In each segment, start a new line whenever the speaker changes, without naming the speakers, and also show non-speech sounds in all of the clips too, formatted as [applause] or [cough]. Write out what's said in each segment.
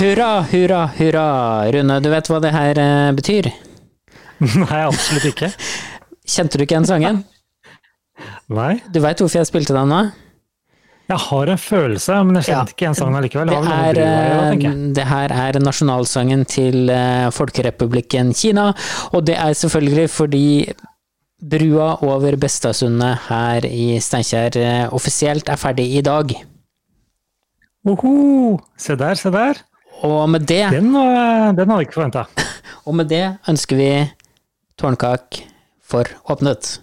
Hurra, hurra, hurra! Rune, du vet hva det her eh, betyr?
[laughs] Nei, absolutt ikke.
Kjente du ikke igjen sangen?
Nei.
Du veit hvorfor jeg spilte den nå?
Jeg har en følelse, men jeg kjente
Ja.
ikke igjen sangen allikevel.
Det
Det har vel noe med
er,
bryr å gjøre,
eh,
tenker jeg.
det her er nasjonalsangen til eh, Folkerepublikken Kina, og det er selvfølgelig fordi brua over Bestasundet her i Steinkjer eh, offisielt er ferdig i dag.
Oho, se der, se der.
Og med det,
Den, eh, den hadde jeg ikke forventa.
og med det ønsker vi Tårnkak for åpnet.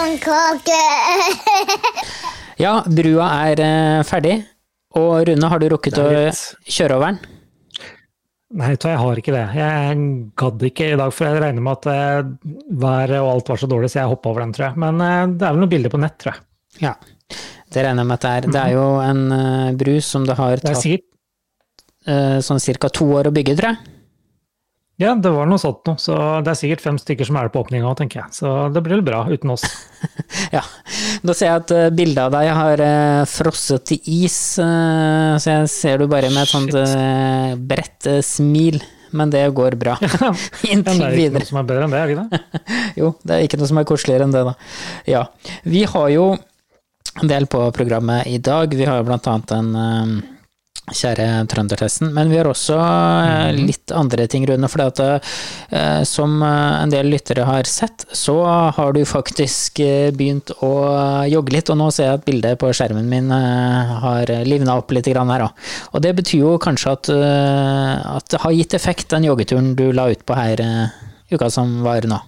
Blomkake!
Ja, brua er eh, ferdig. Og Rune, har du rukket å
Det er litt-
kjøre over den?
Nei, vet du hva, jeg har ikke det. Jeg gadd ikke i dag, for jeg regner med at eh, været og alt var så dårlig, så jeg hoppa over den, tror jeg. Men eh, det er vel noen bilder på nett, tror jeg.
Ja. Det regner jeg med at det er. Det er jo en eh, bru som det har
Det er
tatt
sikkert
eh, sånn ca. to år å bygge, tror jeg.
Ja, det var noe sånt noe, så det er sikkert fem stykker som er det på åpninga òg, tenker jeg. Så det blir vel bra uten oss. [laughs]
Ja. Nå ser jeg at eh, bildet av deg har eh, frosset til is, eh, så jeg ser du bare med et sånt
Shit.
eh, bredt eh, smil. Men det går bra.
Men
[laughs]
det
Inntil
er ikke
videre.
noe som er bedre enn det, er det ikke det?
Jo, det er ikke noe som er koseligere enn det, da. Ja. Vi har jo en del på programmet i dag. Vi har jo blant annet den eh, kjære trøndertesten, men vi har også eh, litt andre ting, Rune. For at, eh, som eh, en del lyttere har sett, så har du faktisk eh, begynt å jogge litt. Og nå ser jeg at bildet på skjermen min eh, har livna opp litt grann her òg. Og det betyr jo kanskje at, eh, at det har gitt effekt, den joggeturen du la ut på her eh, uka som var nå.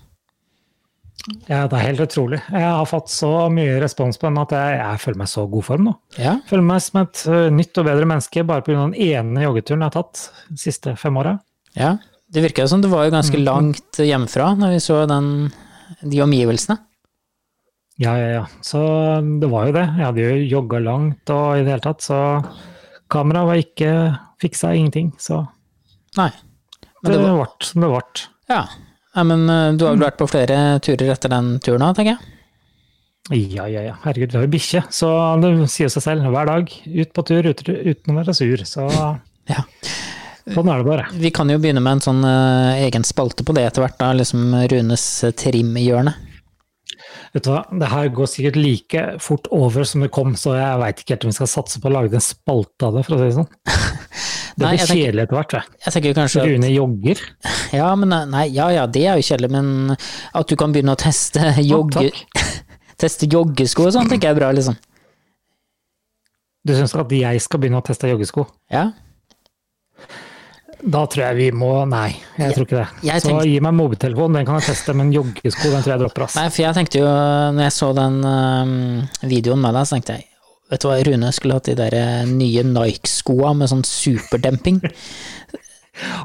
Ja, det er helt utrolig. Jeg har fått så mye respons på den at jeg, jeg føler meg så god form nå.
Ja,
Jeg føler meg som et ø, nytt og bedre menneske bare pga. den ene joggeturen jeg har tatt de siste fem åra.
ja. Det virka jo som det var jo ganske langt hjemmefra når vi så den, de omgivelsene.
Ja, ja, ja. Så um, det var jo det. Jeg hadde jo jogga langt og i det hele tatt, så kameraet var ikke fiksa, ingenting. Så
Nei. Men
det
det var,
ble som det ble.
ja. Nei, men eh, du har vel vært på flere turer etter den turen òg, tenker jeg.
Ja, ja, ja. Herregud, vi har jo bikkje, så det sier seg selv. Hver dag ut på tur ut, uten å være sur. Så
Ja.
sånn er det bare.
Vi kan jo begynne med en sånn eh, egen spalte på det etter hvert, da. Liksom Runes trimhjørne.
Vet du hva, det her går sikkert like fort over som det kom, så jeg veit ikke helt om vi skal satse på å lage en spalte av det, for å
[laughs]
si det sånn. Det
Nei,
blir
jeg tenker-
kjedelig etter hvert, vet du.
Jeg tenker kanskje at,
Rune jogger.
Ja, men eh, nei, ja ja, det er jo kjedelig, men at du kan begynne å teste jogge...
takk.
[laughs] Teste joggesko og sånn, tenker jeg er bra, liksom.
Du syns at jeg skal begynne å teste joggesko?
Ja.
Da tror jeg vi må Nei, jeg tror ikke det.
jeg
så
tenkte-
gi meg mobiltelefonen, den kan jeg teste, men joggesko, den tror jeg dropper, ass.
Nei, for jeg tenkte jo, når jeg så den øhm, videoen med deg, så tenkte jeg Vet du hva, Rune skulle hatt de der eh, nye Nike-skoa med sånn
[laughs]
superdemping.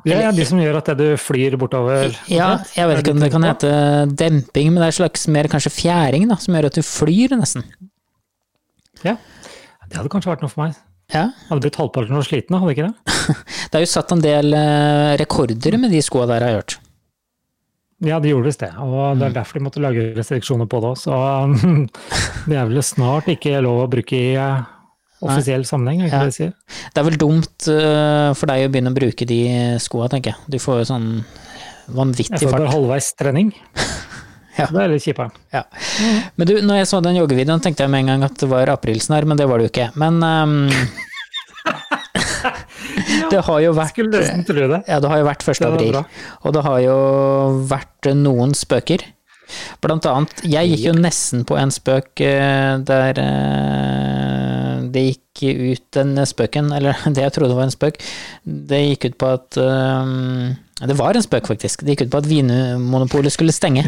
Ja, ja, de som gjør at det du flyr bortover
Ja, jeg vet ikke om det kan hete demping, men det er slags mer kanskje fjæring, da, som gjør at du flyr, nesten.
Ja. Det hadde kanskje vært noe for meg.
Ja.
Hadde blitt halvparten og sliten, hadde ikke det?
Det er jo satt en del eh, rekorder med de skoa der, har jeg hørt.
Ja, de gjorde visst det, og det er derfor de måtte lage restriksjoner på det òg. Så [laughs] det er vel snart ikke lov å bruke i eh, offisiell sammenheng, er ikke det de sier?
Det er vel dumt eh, for deg å begynne å bruke de skoa, tenker jeg. Du får jo sånn
Jeg
vanvittig
får bare
fart.
halvveis [laughs] trening.
Ja.
Det er litt kjipere.
Ja. Men du, når jeg så den joggevideoen, tenkte jeg med en gang at det var aprilsnarr, men det var det jo ikke. Men
[laughs]
ehm, det har jo vært
Skulle nesten tro det.
ja, det har jo vært 1.
Det var
april,
bra.
og det har jo vært noen spøker. Blant annet, jeg gikk jo nesten på en spøk eh, der eh, det gikk ut den spøken, eller [laughs] det jeg trodde var en spøk, det gikk ut på at eh, Det var en spøk, faktisk. Det gikk ut på at Vinmonopolet skulle stenge.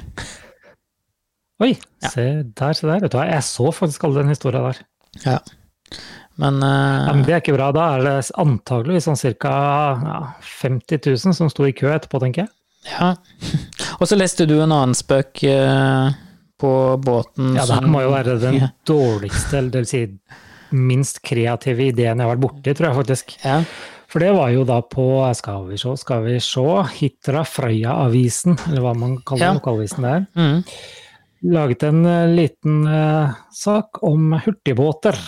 Oi, se der, se der. Vet du hva, jeg så faktisk alle den historia der.
Ja. Men, eh,
Ja, men det er ikke bra. Da er det antageligvis sånn ca. Ja, 50 000 som sto i kø etterpå, tenker jeg.
Ja. [laughs] Og så leste du en annen spøk eh, på båten
Ja, det her
som-
må jo være den
Ja.
dårligste, eller det vil si minst kreative ideen jeg har vært borti, tror jeg faktisk.
Ja.
For det var jo da på eh, Skal vi sjå, skal vi sjå, Hitra Frøya-avisen, eller hva man kaller
Ja.
lokalavisen der,
Mm. [laughs]
laget en eh, liten eh, sak om hurtigbåter.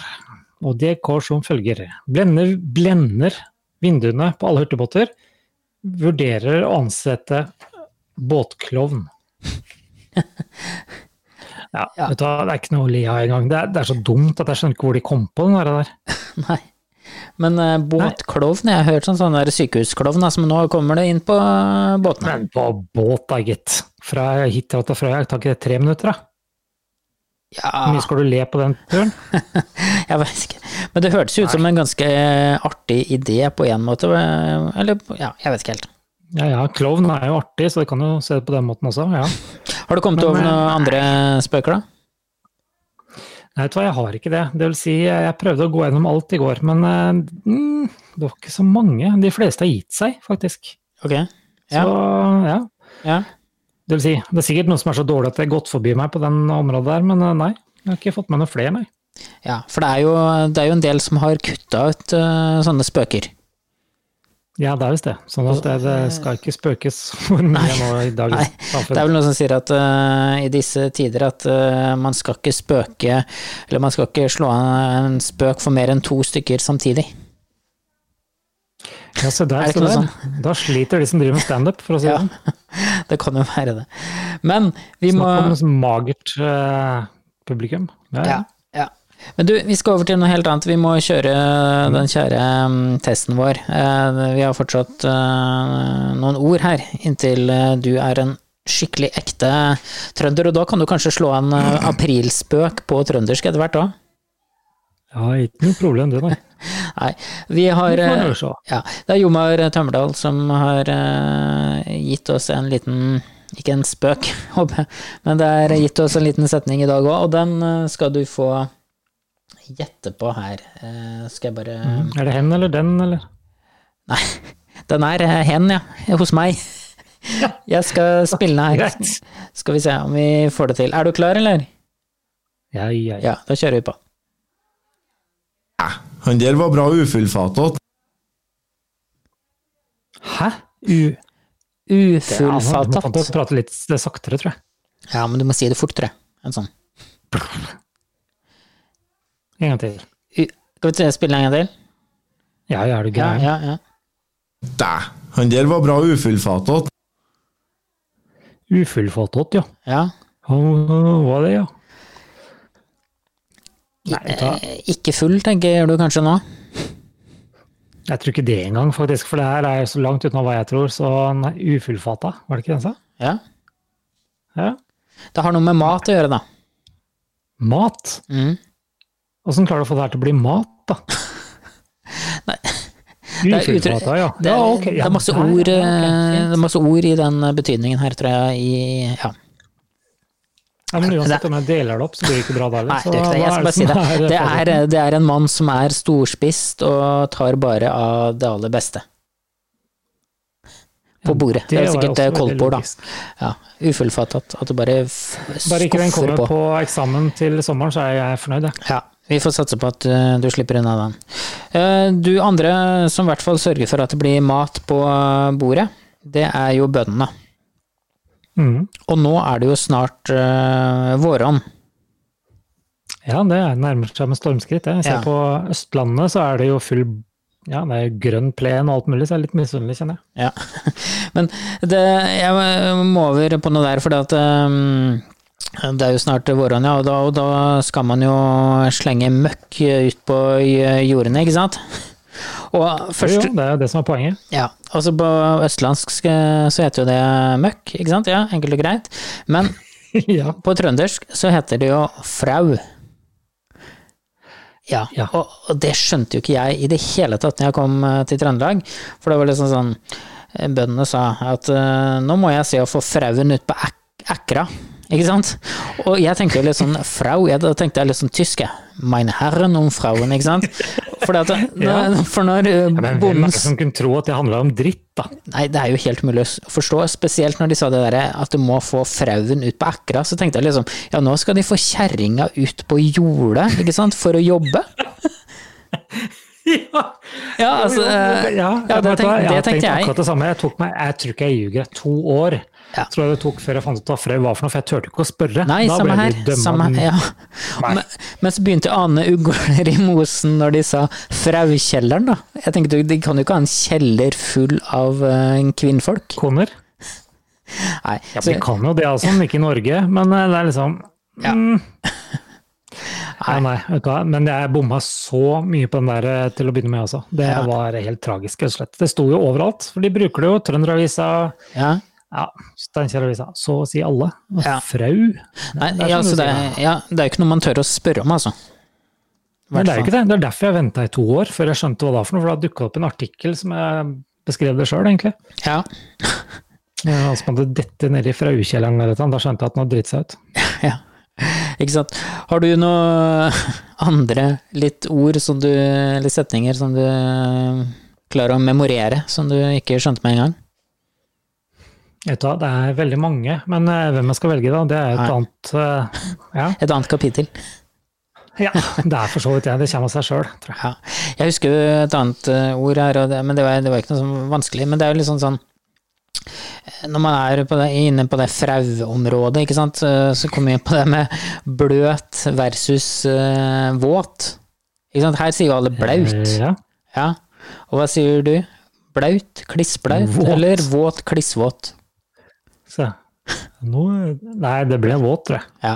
Og det går som følger. Blender, blender vinduene på alle hurtigbåter. Vurderer å ansette
[laughs]
båtklovn. Ja,
Ja.
Vet du, hva, det er ikke noe å le av engang. Det, er- det er så dumt at jeg skjønner ikke hvor de kom på den der. der.
Nei. Men eh, båtklovn, jeg har hørt sånn, sånn der sykehusklovn, altså, men nå kommer det inn på eh, båtene.
Men på båt, da, gitt. Fra Hitra til Frøya tar ikke det tre minutter, da? Hvor
Ja,
mye skal du le på den turen?
jeg vet ikke. Men det hørtes jo ut som en ganske eh, artig idé på en måte, eh, eller ja, jeg vet ikke helt.
Ja ja, klovn er jo artig, så du kan jo se det på den måten også. ja.
Har du kommet
Men,
over
eh,
noen andre spøker, da?
Nei, vet du hva, jeg har ikke det. Det vil si, jeg prøvde å gå gjennom alt i går, men eh, mm, det var ikke så mange. De fleste har gitt seg, faktisk.
Ok.
Så, ja.
Ja.
Det vil si, det er sikkert noen som er så dårlig at det har gått forbi meg på den området der, men eh, nei. Jeg har ikke fått med noen flere, nei.
ja. For det er, jo, det er jo en del som har kutta ut eh, sånne spøker.
Ja, det er visst det. Sånn at det, det skal ikke spøkes for mye nå
Nei,
i dagens
Det er
samfunn.
vel noen som sier at eh, i disse tider at eh, man skal ikke spøke Eller man skal ikke slå an en spøk for mer enn to stykker samtidig.
Ja, se
Er
der,
det
så
ikke noe sånn?
der. Da sliter de som driver med standup, for å si det
Ja, [laughs]
sånn.
Det kan jo være det. Men vi må
Snakk om et magert eh, publikum. Ja,
ja, ja. Men du, vi skal over til noe helt annet. Vi må kjøre den kjære mm, testen vår. Eh, Vi har fortsatt eh, noen ord her, inntil eh, du er en skikkelig ekte trønder. Og da kan du kanskje slå en eh, aprilspøk på trøndersk etter hvert òg?
ja ikke noe problem det, nei.
Nei. Vi
Det
har
får
eh,
man jo se.
Ja, det er Jomar Tømmerdal som har eh, gitt oss en liten Ikke en spøk, [laughs] håper jeg, men det er gitt oss en liten setning i dag òg, og den eh, skal du få gjette på her. Eh, skal jeg bare
Er det hen eller den, eller?
Nei, [laughs] den er eh, hen, ja. Hos
[laughs]
meg. Jeg skal spille den her.
Greit.
Skal vi se om vi får det til. Er du klar, eller?
Ja, ja, ja.
Ja, da kjører vi på.
Han der var bra ufullfattet.
Hæ? U... Ja, man må
Ufullfattet.
prate litt saktere, tror jeg.
Ja, men du må si det fortere. En sånn.
En gang til.
U skal vi se, spille den en gang til?
Ja, ja, er du
Ja,
gæren?
ja, ja.
Dæ! Han der var bra ufullfattet.
Ufullfattet, ja.
ja.
Hva var det, ja? Nei, vet du hva.
Eh, Ikke full, tenker du kanskje nå?
jeg tror ikke det engang, faktisk. For det her er jo så langt utenom hva jeg tror, så nei, ufullfatta, var det ikke den sa?
Ja.
Ja.
Det har noe med mat å gjøre, da.
Mat.
Mm.
Åssen klarer du å få det her til å bli mat, da?
[laughs] Nei. er utrykk-
Ufullfatta, ja.
Det, er-
ja, ok,
det,
ja,
er masse
der,
ord,
ja,
eh,
ok, fint.
det er masse ord i den betydningen her, tror jeg. I, ja.
Ja, men
[laughs]
uansett om jeg deler det opp, så blir det ikke bra da. eller?
Nei,
Så
det er ikke det.
hva
Jeg skal bare si
som eh,
det. Det
fasiten?
er, eh, det er en mann som er storspist og tar bare av det aller beste. På bordet. Det er jo
var
sikkert
også
eh,
veldig
koldtbord, da.
logisk.
Ja, Ufullfattet. At du bare f-
Bare ikke den
eh, skuffer
kommer
på.
på eksamen til sommeren, så er jeg fornøyd, jeg.
Ja, vi får satse på at eh, du slipper unna den. Eh, Du andre som i hvert fall sørger for at det blir mat på eh, bordet, det er jo bøndene.
Mhm.
Og nå er det jo snart uh, våron.
Ja, det er- nærmer seg med stormskritt. Jeg Jeg ser
Ja.
på Østlandet så er det jo full ja, det er jo grønn plen og alt mulig, så jeg er litt misunnelig, kjenner jeg.
Ja. [laughs] Men det, jeg må over på noe der, for det at eh, det er jo snart våron, ja, og da, og da skal man jo slenge møkk ut på eh, jordene, ikke sant? [laughs] Og
Jo,
først,
jo, det er jo det som er poenget. [laughs]
Ja, altså på østlandsk eh, så heter jo det møkk, ikke sant? Ja, enkelt og greit. Men
ja.
på trøndersk så heter det jo frau. Ja,
Ja.
Og, og det skjønte jo ikke jeg i det hele tatt når jeg kom eh, til Trøndelag. For det var liksom sånn eh, Bøndene sa at eh, nå må jeg se å få frauen ut på ek ekra. Ikke sant? Og jeg tenkte jo litt sånn frau, jeg, da tenkte jeg litt sånn tysk, jeg. Meine Herren om frauen, ikke sant? For, det at,
[laughs] Ja.
for når eh,
Ja, men hvem er det
bondens
som kunne tro at det handla om dritt, da?
Nei, det er jo helt umulig å forstå, spesielt når de sa det derre at du må få frauen ut på ekra. Så tenkte jeg liksom, ja nå skal de få kjerringa ut på jordet, ikke sant, for å jobbe.
ja,
[laughs] Ja, altså,
[laughs] Jo, jo, ja,
ja, det
vet du
tenk- det
hva, jeg. har tenkt
tenkte jeg.
akkurat det samme. Jeg, tok meg, jeg tror ikke jeg ljuger. To år
Ja.
tror jeg det tok før jeg fant ut hva frø var for noe, for jeg turte ikke å spørre.
Nei,
da
samme
ble
her.
de dømmet
Samme,
den-
ja.
Nei.
Men, men så begynte Ane Ugler i mosen når de sa fraukjelleren, da. Jeg tenkte, De kan jo ikke ha en kjeller full av eh, kvinnfolk.
Koner?
Nei.
Ja,
Så,
vi kan jo det, altså, men ikke i Norge. Men eh, det er liksom
Ja.
mm. Nei, nei, vet du hva. Men jeg bomma så mye på den der eh, til å begynne med, altså. Det
Ja.
var helt tragisk, rett og slett. Det sto jo overalt, for de bruker det jo. Trønderavisa,
ja.
ja, Steinkjer-avisa, så å si alle. Og
Ja.
Frau.
Nei,
det er
ja,
som du
altså, det, er- ja, det er jo ikke noe man tør å spørre om, altså.
Men det er jo ikke det. Det er derfor jeg venta i to år før jeg skjønte hva det var for noe, for da dukka opp en artikkel som jeg beskrev det sjøl, egentlig.
Ja.
Eh, Altså, man hadde dette nedi fraukjelleren eller et eller annet. Da skjønte jeg at den hadde dritt seg ut.
Ikke sant. Har du noen [laughs] andre litt ord som du Eller setninger som du eh, klarer å memorere, som du ikke skjønte med en gang?
Vet du hva, det er veldig mange, men eh, hvem jeg skal velge, da? Det er et
Nei.
annet eh, ja.
Et annet kapittel.
ja, [laughs] det er for så vidt det. Det kommer av seg sjøl, tror jeg.
Ja. Jeg husker jo et annet eh, ord her, og det, men det var, det var ikke noe sånn vanskelig. Men det er jo litt sånn sånn eh, Når man er på det, inne på det frauområdet, ikke sant, eh, så kommer vi inn på det med bløt versus eh, våt. Ikke sant? Her sier jo alle blaut.
Eh, Ja.
Ja. Og hva sier du? Blaut? Klissblaut?
Våt.
Eller våt? Klissvåt?
Så. Nå, nei, det ble våt, tror jeg.
Ja.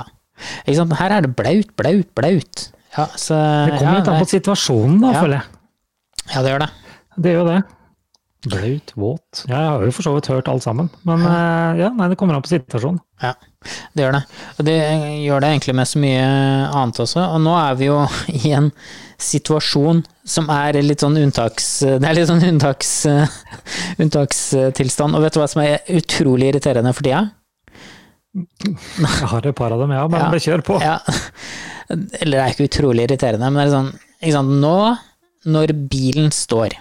Ikke sant? Her er det blaut, blaut, blaut. Ja, så
Det kommer
ja,
litt an
nei.
på situasjonen, da,
Ja.
føler jeg.
Ja, det gjør det.
Det er jo det. Blaut, våt. Ja, jeg har jo for så vidt hørt alt sammen. Men eh, ja, nei, det kommer an på situasjonen.
Ja, det gjør det. Og det gjør det egentlig med så mye annet også. Og nå er vi jo [laughs] i en situasjon som er litt sånn unntaks... Det er litt sånn unntaks, [laughs] unntakstilstand. Og vet du hva som er utrolig irriterende for tida?
Jeg har et par av dem, ja, men
Ja.
bare kjør på.
Ja. Eller det er ikke utrolig irriterende, men det er sånn ikke sant? Nå, når bilen står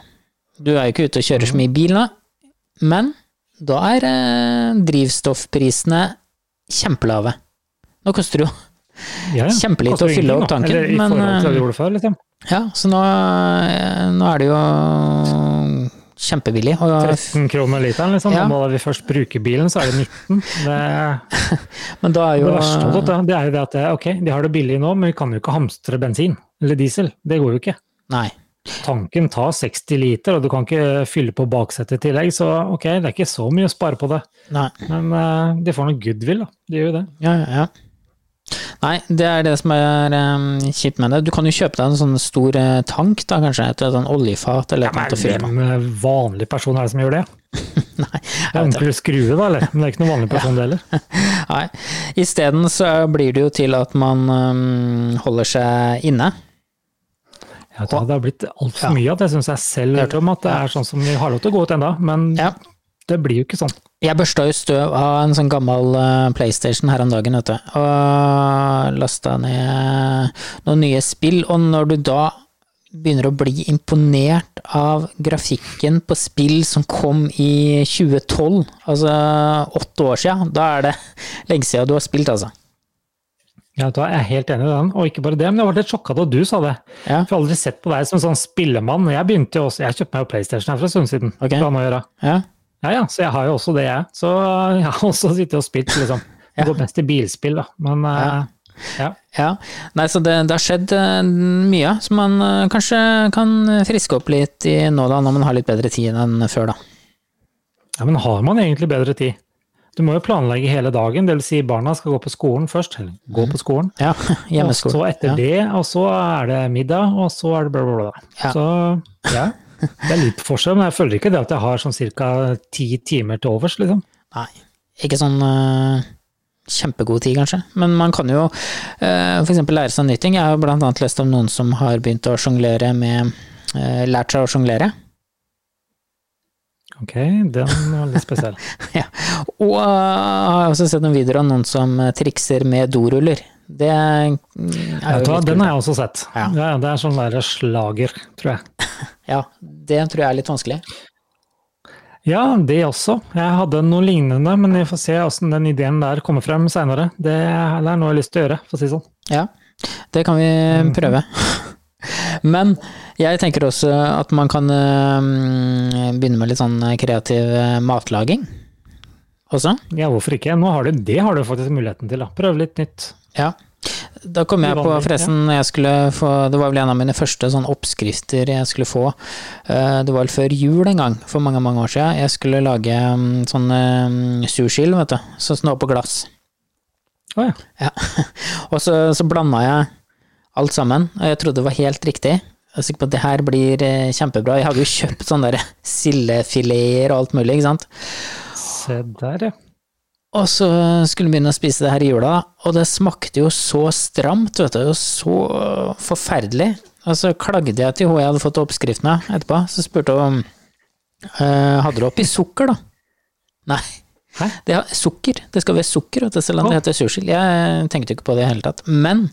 Du er jo ikke ute og kjører så mye bil nå, men da er eh, drivstoffprisene kjempelave. Nå koster det jo
Ja, ja.
Kjempelite
Koster
å fylle
ingenting,
opp
da.
tanken,
Eller i
men,
forhold til det
eh,
vi gjorde før, liksom.
Ja, så nå, eh, nå er det jo kjempebillig. Og,
13 kroner literen, liksom.
Ja.
Nå da vi først bruker bilen, så er det 19. Det
men da er jo
Det verste av alt, da, det er jo det at eh, ok, de har det billig nå, men vi kan jo ikke hamstre bensin eller diesel. Det går jo ikke.
Nei.
Tanken tar 60 liter, og du kan ikke fylle på baksetet i tillegg, så ok, det er ikke så mye å spare på det.
nei.
Men eh, de får noe goodwill, da. De gjør jo det.
Ja, ja, ja. Nei, det er det som er eh, kjipt med det. Du kan jo kjøpe deg en sånn stor eh, tank, da kanskje. Et sånn oljefat eller et eller annet å fylle på.
Hvem eh, vanlig person er det som gjør det?
[laughs] Nei,
Det er onkel Skrue, da, eller? Men det er ikke noen vanlig person, det heller.
Nei. Isteden så blir det jo til at man eh, holder seg inne.
Jeg vet ikke, Det har blitt altfor mye at jeg syns jeg selv
Ja.
hørte om at det er sånn som vi har lov til å gå ut ennå, men
Ja.
det blir jo ikke sånn.
Jeg børsta jo støv av en sånn gammel eh, PlayStation her om dagen, vet du. Og lasta ned noen nye spill. Og når du da begynner å bli imponert av grafikken på spill som kom i 2012, altså åtte år sia, da er det lenge sia du har spilt, altså.
Ja, vet du hva, jeg er helt enig i den, og ikke bare det, men jeg ble litt sjokka da du sa det.
Ja.
Jeg har aldri sett på deg som en sånn spillemann. Jeg begynte jo også, jeg kjøpte meg jo PlayStation her for en stund siden.
Ok.
for han å gjøre.
Ja.
Ja, ja, så jeg har jo også det, jeg. Så jeg har også sittet og spilt, liksom.
[laughs]
Det går mest i bilspill, da. Men eh, ja.
ja. Nei, så det, det har skjedd eh, mye som man eh, kanskje kan friske opp litt i nå da, når man har litt bedre tid enn før, da.
ja, men har man egentlig bedre tid? Du må jo planlegge hele dagen, det vil si barna skal gå på skolen først. Eller gå på skolen.
Ja, [laughs]
Og
hjemmeskole.
så etter
ja.
det, og så er det middag, og så er det bla, bla, bla.
Ja.
Så
[laughs]
ja. Det er litt forskjell, men jeg føler ikke det at jeg har sånn ca. ti timer til overs, liksom.
Nei, ikke sånn øh, kjempegod tid, kanskje. Men man kan jo øh, for eksempel lære seg nye ting. Jeg har jo blant annet lest om noen som har begynt å sjonglere med øh, Lært seg å sjonglere.
Ok, den var litt
[laughs]
spesiell.
ja. Og øh, har også sett noen videoer av noen som øh, trikser med doruller. Det mm, er jo
Ja,
litt
da,
kult.
den har jeg også sett.
Ja.
Ja. ja, det er sånn der slager, tror jeg.
Ja, det tror jeg er litt vanskelig.
Ja, det også. Jeg hadde noe lignende, men vi får se åssen den ideen der kommer frem seinere. Det er det er noe jeg har lyst til å gjøre, for å si det sånn.
Ja, det kan vi prøve. eh, [laughs] Men Jeg tenker også at man kan eh, begynne med litt sånn kreativ eh, matlaging også.
Ja, hvorfor ikke? Nå har du, det har du faktisk muligheten til. Da. Prøve litt nytt.
Ja. Da kom jeg på
Uvanlig, ja.
forresten, når jeg skulle få, det var vel en av mine første sånn oppskrifter jeg skulle få. Eh, Det var vel før jul en gang, for mange mange år siden. Jeg skulle lage mm, sånn eh, sursild, vet du. Sånn som det var på glass.
Å ja.
Ja. Og så, så blanda jeg alt sammen, og jeg trodde det var helt riktig. Jeg er sikker på at det her blir eh, kjempebra. Jeg hadde jo kjøpt sånne der sildefileter og alt mulig, ikke sant.
Se der, ja.
Og så skulle vi begynne å spise det her i jula, og det smakte jo så stramt, vet du, og så forferdelig. Og så klagde jeg til hun jeg hadde fått oppskriften av etterpå, så spurte hun om eh, Hadde du oppi sukker, da? Nei.
Hæ?
Det er sukker. Det skal være sukker, vet du, selv om det heter sursild. Jeg tenkte jo ikke på det i det hele tatt. Men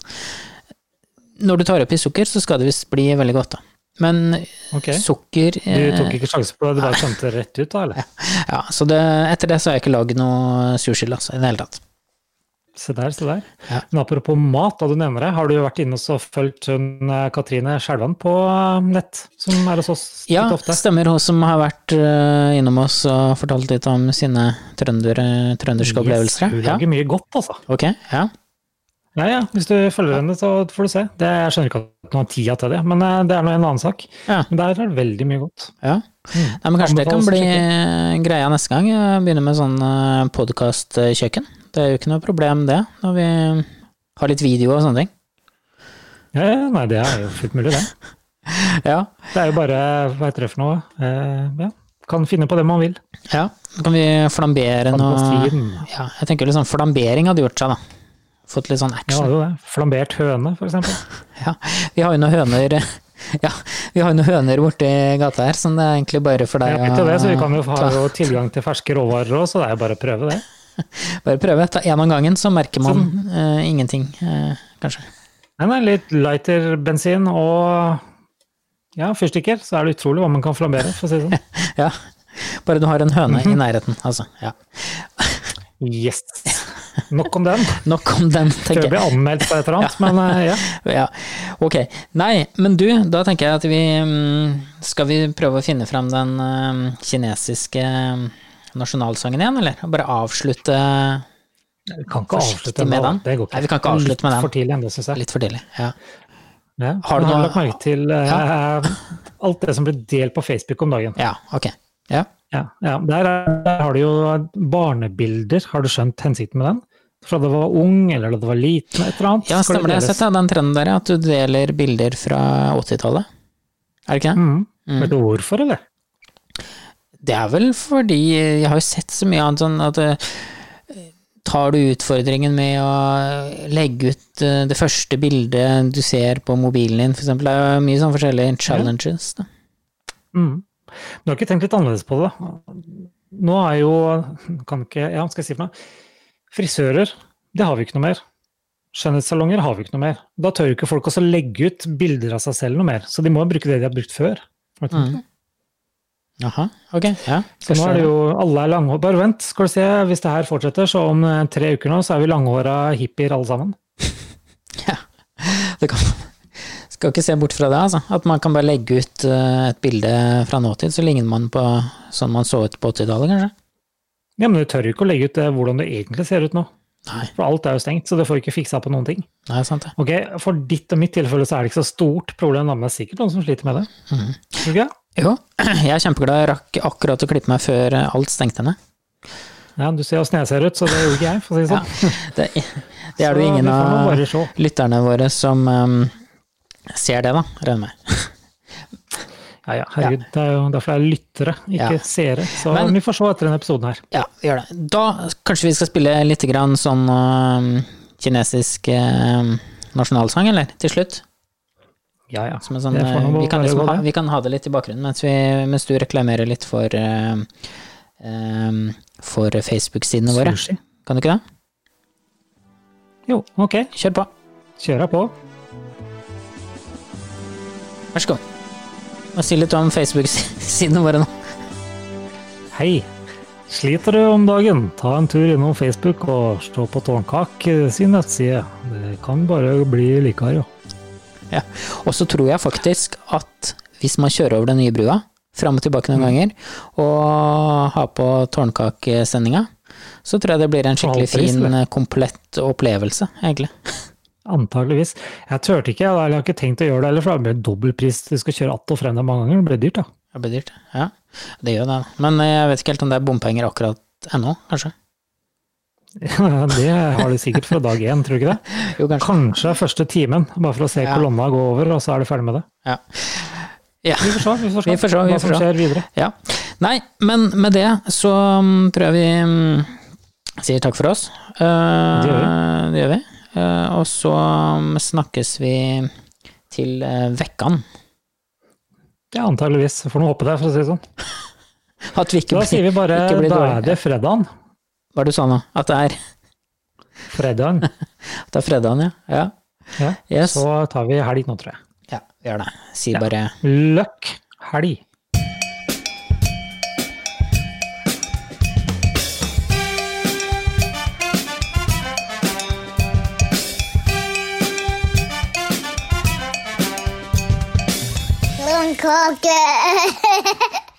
når du tar oppi sukker, så skal det visst bli veldig godt, da. Men
Ok.
sukker
Du
eh,
tok ikke sjanse på det, du bare skjønte det rett ut, da? eller?
Ja, så det, etter det så har jeg ikke lagd noe sursild, altså, i det hele tatt.
Se der, se der.
Ja.
Men apropos mat, da du nevner det, har du vært inne og så fulgt hun eh, Katrine Skjelvan på eh, nett, som er hos oss litt
Ja,
ofte?
stemmer. Hun som har vært eh, innom oss og fortalt litt om sine trønder, eh, trønderske opplevelser.
Yes, hun
Ja.
lager mye godt, altså.
Ok, ja.
Ja, ja, hvis du følger henne, så får du se. Det, jeg skjønner ikke at hun har tida til det, men eh, det er nå en annen sak.
Ja.
Men der er det veldig mye godt.
ja. Nei, men kanskje det kan
Mm. Anbefales å
bli greia neste gang. Jeg begynner med sånn podkastkjøkken. Det er jo ikke noe problem, det, når vi har litt video og sånne ting.
Ja, ja, nei, det er jo fullt mulig, det.
Ja,
Det er jo bare hva heter det for noe? Eh, ja. Kan finne på det man vil.
ja. Da kan vi flambere noe
Fantasien.
ja, Jeg tenker litt sånn flambering hadde gjort seg, da. Fått litt sånn
Ja, det
action.
er jo det. Flambert høne, for eksempel.
Ja, vi har jo noen høner [laughs] Ja, vi har jo noen høner borti gata her, som det er egentlig bare for
Jeg
deg
vet jo det, så vi kan jo ha
ta-
jo tilgang til ferske råvarer òg, så det er jo bare å prøve det. Sånn.
Bare prøve. Ta én om gangen, så merker man eh, ingenting, eh, kanskje.
Nei, nei, litt lighter bensin og ja, fyrstikker, så er det utrolig hva man kan flambere, for å si det sånn.
Ja. Bare du har en høne
Mhm.
i nærheten, altså. Ja.
Yes! Nok om den.
Nok om den,
Før
tenker
jeg
jeg.
blir anmeldt for et eller annet, men eh, ja.
Ja. Ok. Nei, men du, da tenker jeg at vi mm, Skal vi prøve å finne fram den eh, kinesiske eh, nasjonalsangen igjen, eller? Bare avslutte
Vi kan ikke
Forsiktig
avslutte
med
med
den.
den. Det går
Nei, vi kan ikke avslutte med den.
Litt for tidlig ennå, syns jeg.
litt for tidlig. Ja.
Ja.
Har du
Men
noe-
lagt merke til eh, alt det som ble delt på Facebook om dagen?
ja, ok. Ja.
Ja, ja. Der, er, der har du jo barnebilder. Har du skjønt hensikten med den? Fra det var ung, eller da det var liten, et eller annet.
Ja,
skal
stemmer det. Jeg har
deles.
sett ja, den trenden der, ja, at du deler bilder fra 80-tallet. Er det ikke det?
Mm. Vet du hvorfor, eller?
Det er vel fordi jeg har jo sett så mye annet sånn at eh, Tar du utfordringen med å legge ut eh, det første bildet du ser på mobilen din, for eksempel? Det er jo mye sånn forskjellige challenges, da.
Mm. Du har ikke tenkt litt annerledes på det? da? Nå er jo kan ikke, ja, skal jeg si for noe? Frisører, det har vi ikke noe mer. Skjønnhetssalonger har vi ikke noe mer. Da tør jo ikke folk også legge ut bilder av seg selv noe mer, så de må jo bruke det de har brukt før.
Mm. Jaha, ok. Ja.
Så nå er det jo alle er langhåra. Bare vent, skal du se. Hvis det her fortsetter, så om eh, tre uker nå, så er vi langhåra hippier alle sammen.
Det kan, skal ikke se bort fra det, altså. At man kan bare legge ut eh, et bilde fra nåtid, så ligner man på sånn man så ut på 80-tallet, kanskje.
Ja, men du tør jo ikke å legge ut eh, hvordan du egentlig ser ut nå.
Nei.
For alt er jo stengt, så det får ikke fiksa på noen ting.
Nei, sant det.
Ok, For ditt og mitt tilfelle så er det ikke så stort problem, da, men det er sikkert noen som sliter med det.
Mhm.
Tror du ikke det?
Jo, [clears throat] jeg er kjempeglad jeg rakk akkurat å klippe meg før eh, alt stengte ned.
Ja, Du ser åssen jeg ser ut, så det gjorde ikke jeg, for å si det sånn.
Det, [laughs] det er det jo
Så
ingen
vi får nå
av
bare se.
lytterne våre som eh, ser det, da, regner jeg med.
Ja, ja, herregud, Det er jo derfor det er lyttere, ikke
Ja.
seere. Så
Men-
vi får se etter denne episoden her.
Ja, vi gjør det. Da kanskje vi skal spille litt grann sånn eh, kinesisk eh, nasjonalsang, eller? Til slutt?
Ja, ja.
Som en sånn,
Det får nå
eh, vi, kan
bare
liksom
gå,
ha,
det.
vi kan ha det litt i bakgrunnen mens, vi, mens du reklamerer litt for eh, eh, for Facebook-sidene våre.
Sushi.
Kan du ikke det?
Jo, ok.
Kjør på.
Kjører jeg på.
Vær så god. Og si litt om Facebook-sidene våre nå.
Hei! Sliter du om dagen? Ta en tur innom Facebook og se på Tårnkak sin nettside. Det kan bare bli likere, jo.
Ja. Og så tror jeg faktisk at hvis man kjører over den nye brua, fram og tilbake noen ganger, og har på tårnkakesendinga, så tror jeg det blir en skikkelig
Halv pris,
fin,
eller?
eh, komplett opplevelse, egentlig.
Antageligvis. Jeg turte ikke, eller jeg har ikke tenkt å gjøre det heller, for det blir dobbeltpris. Du skal kjøre att og frem der mange ganger, det blir dyrt, da. [laughs]
Det blir dyrt. Ja, det gjør det. Men eh, jeg vet ikke helt om det er bompenger akkurat ennå, kanskje?
Det har de sikkert fra dag én, tror du ikke det?
Jo, kanskje.
Kanskje første timen, bare for å se
Ja.
kolonna gå over, og så er du ferdig med det.
Ja. Ja.
Vi får se, vi får se,
Vi får se, vi
hva
får
som
se.
skjer videre.
Ja. Nei, men med det så mm, tror jeg vi mm, sier takk for oss. Eh,
Det
det gjør vi. Eh, og så mm, snakkes vi til uh, vekkan.
Ja, antageligvis. Får nå håpe det, for å si det sånn.
At vi ikke
Da sier
blir
vi bare
ikke bli
da
dårlig.
er det fredagen.
Var det du sa nå? At det er,
Fredagen.
[laughs] at det er fredagen, ja?
Ja.
ja. Yes.
Så tar vi helg nå, tror jeg.
Ja, vi gjør det. Si bare
Løkk helg.
Lone Cocker.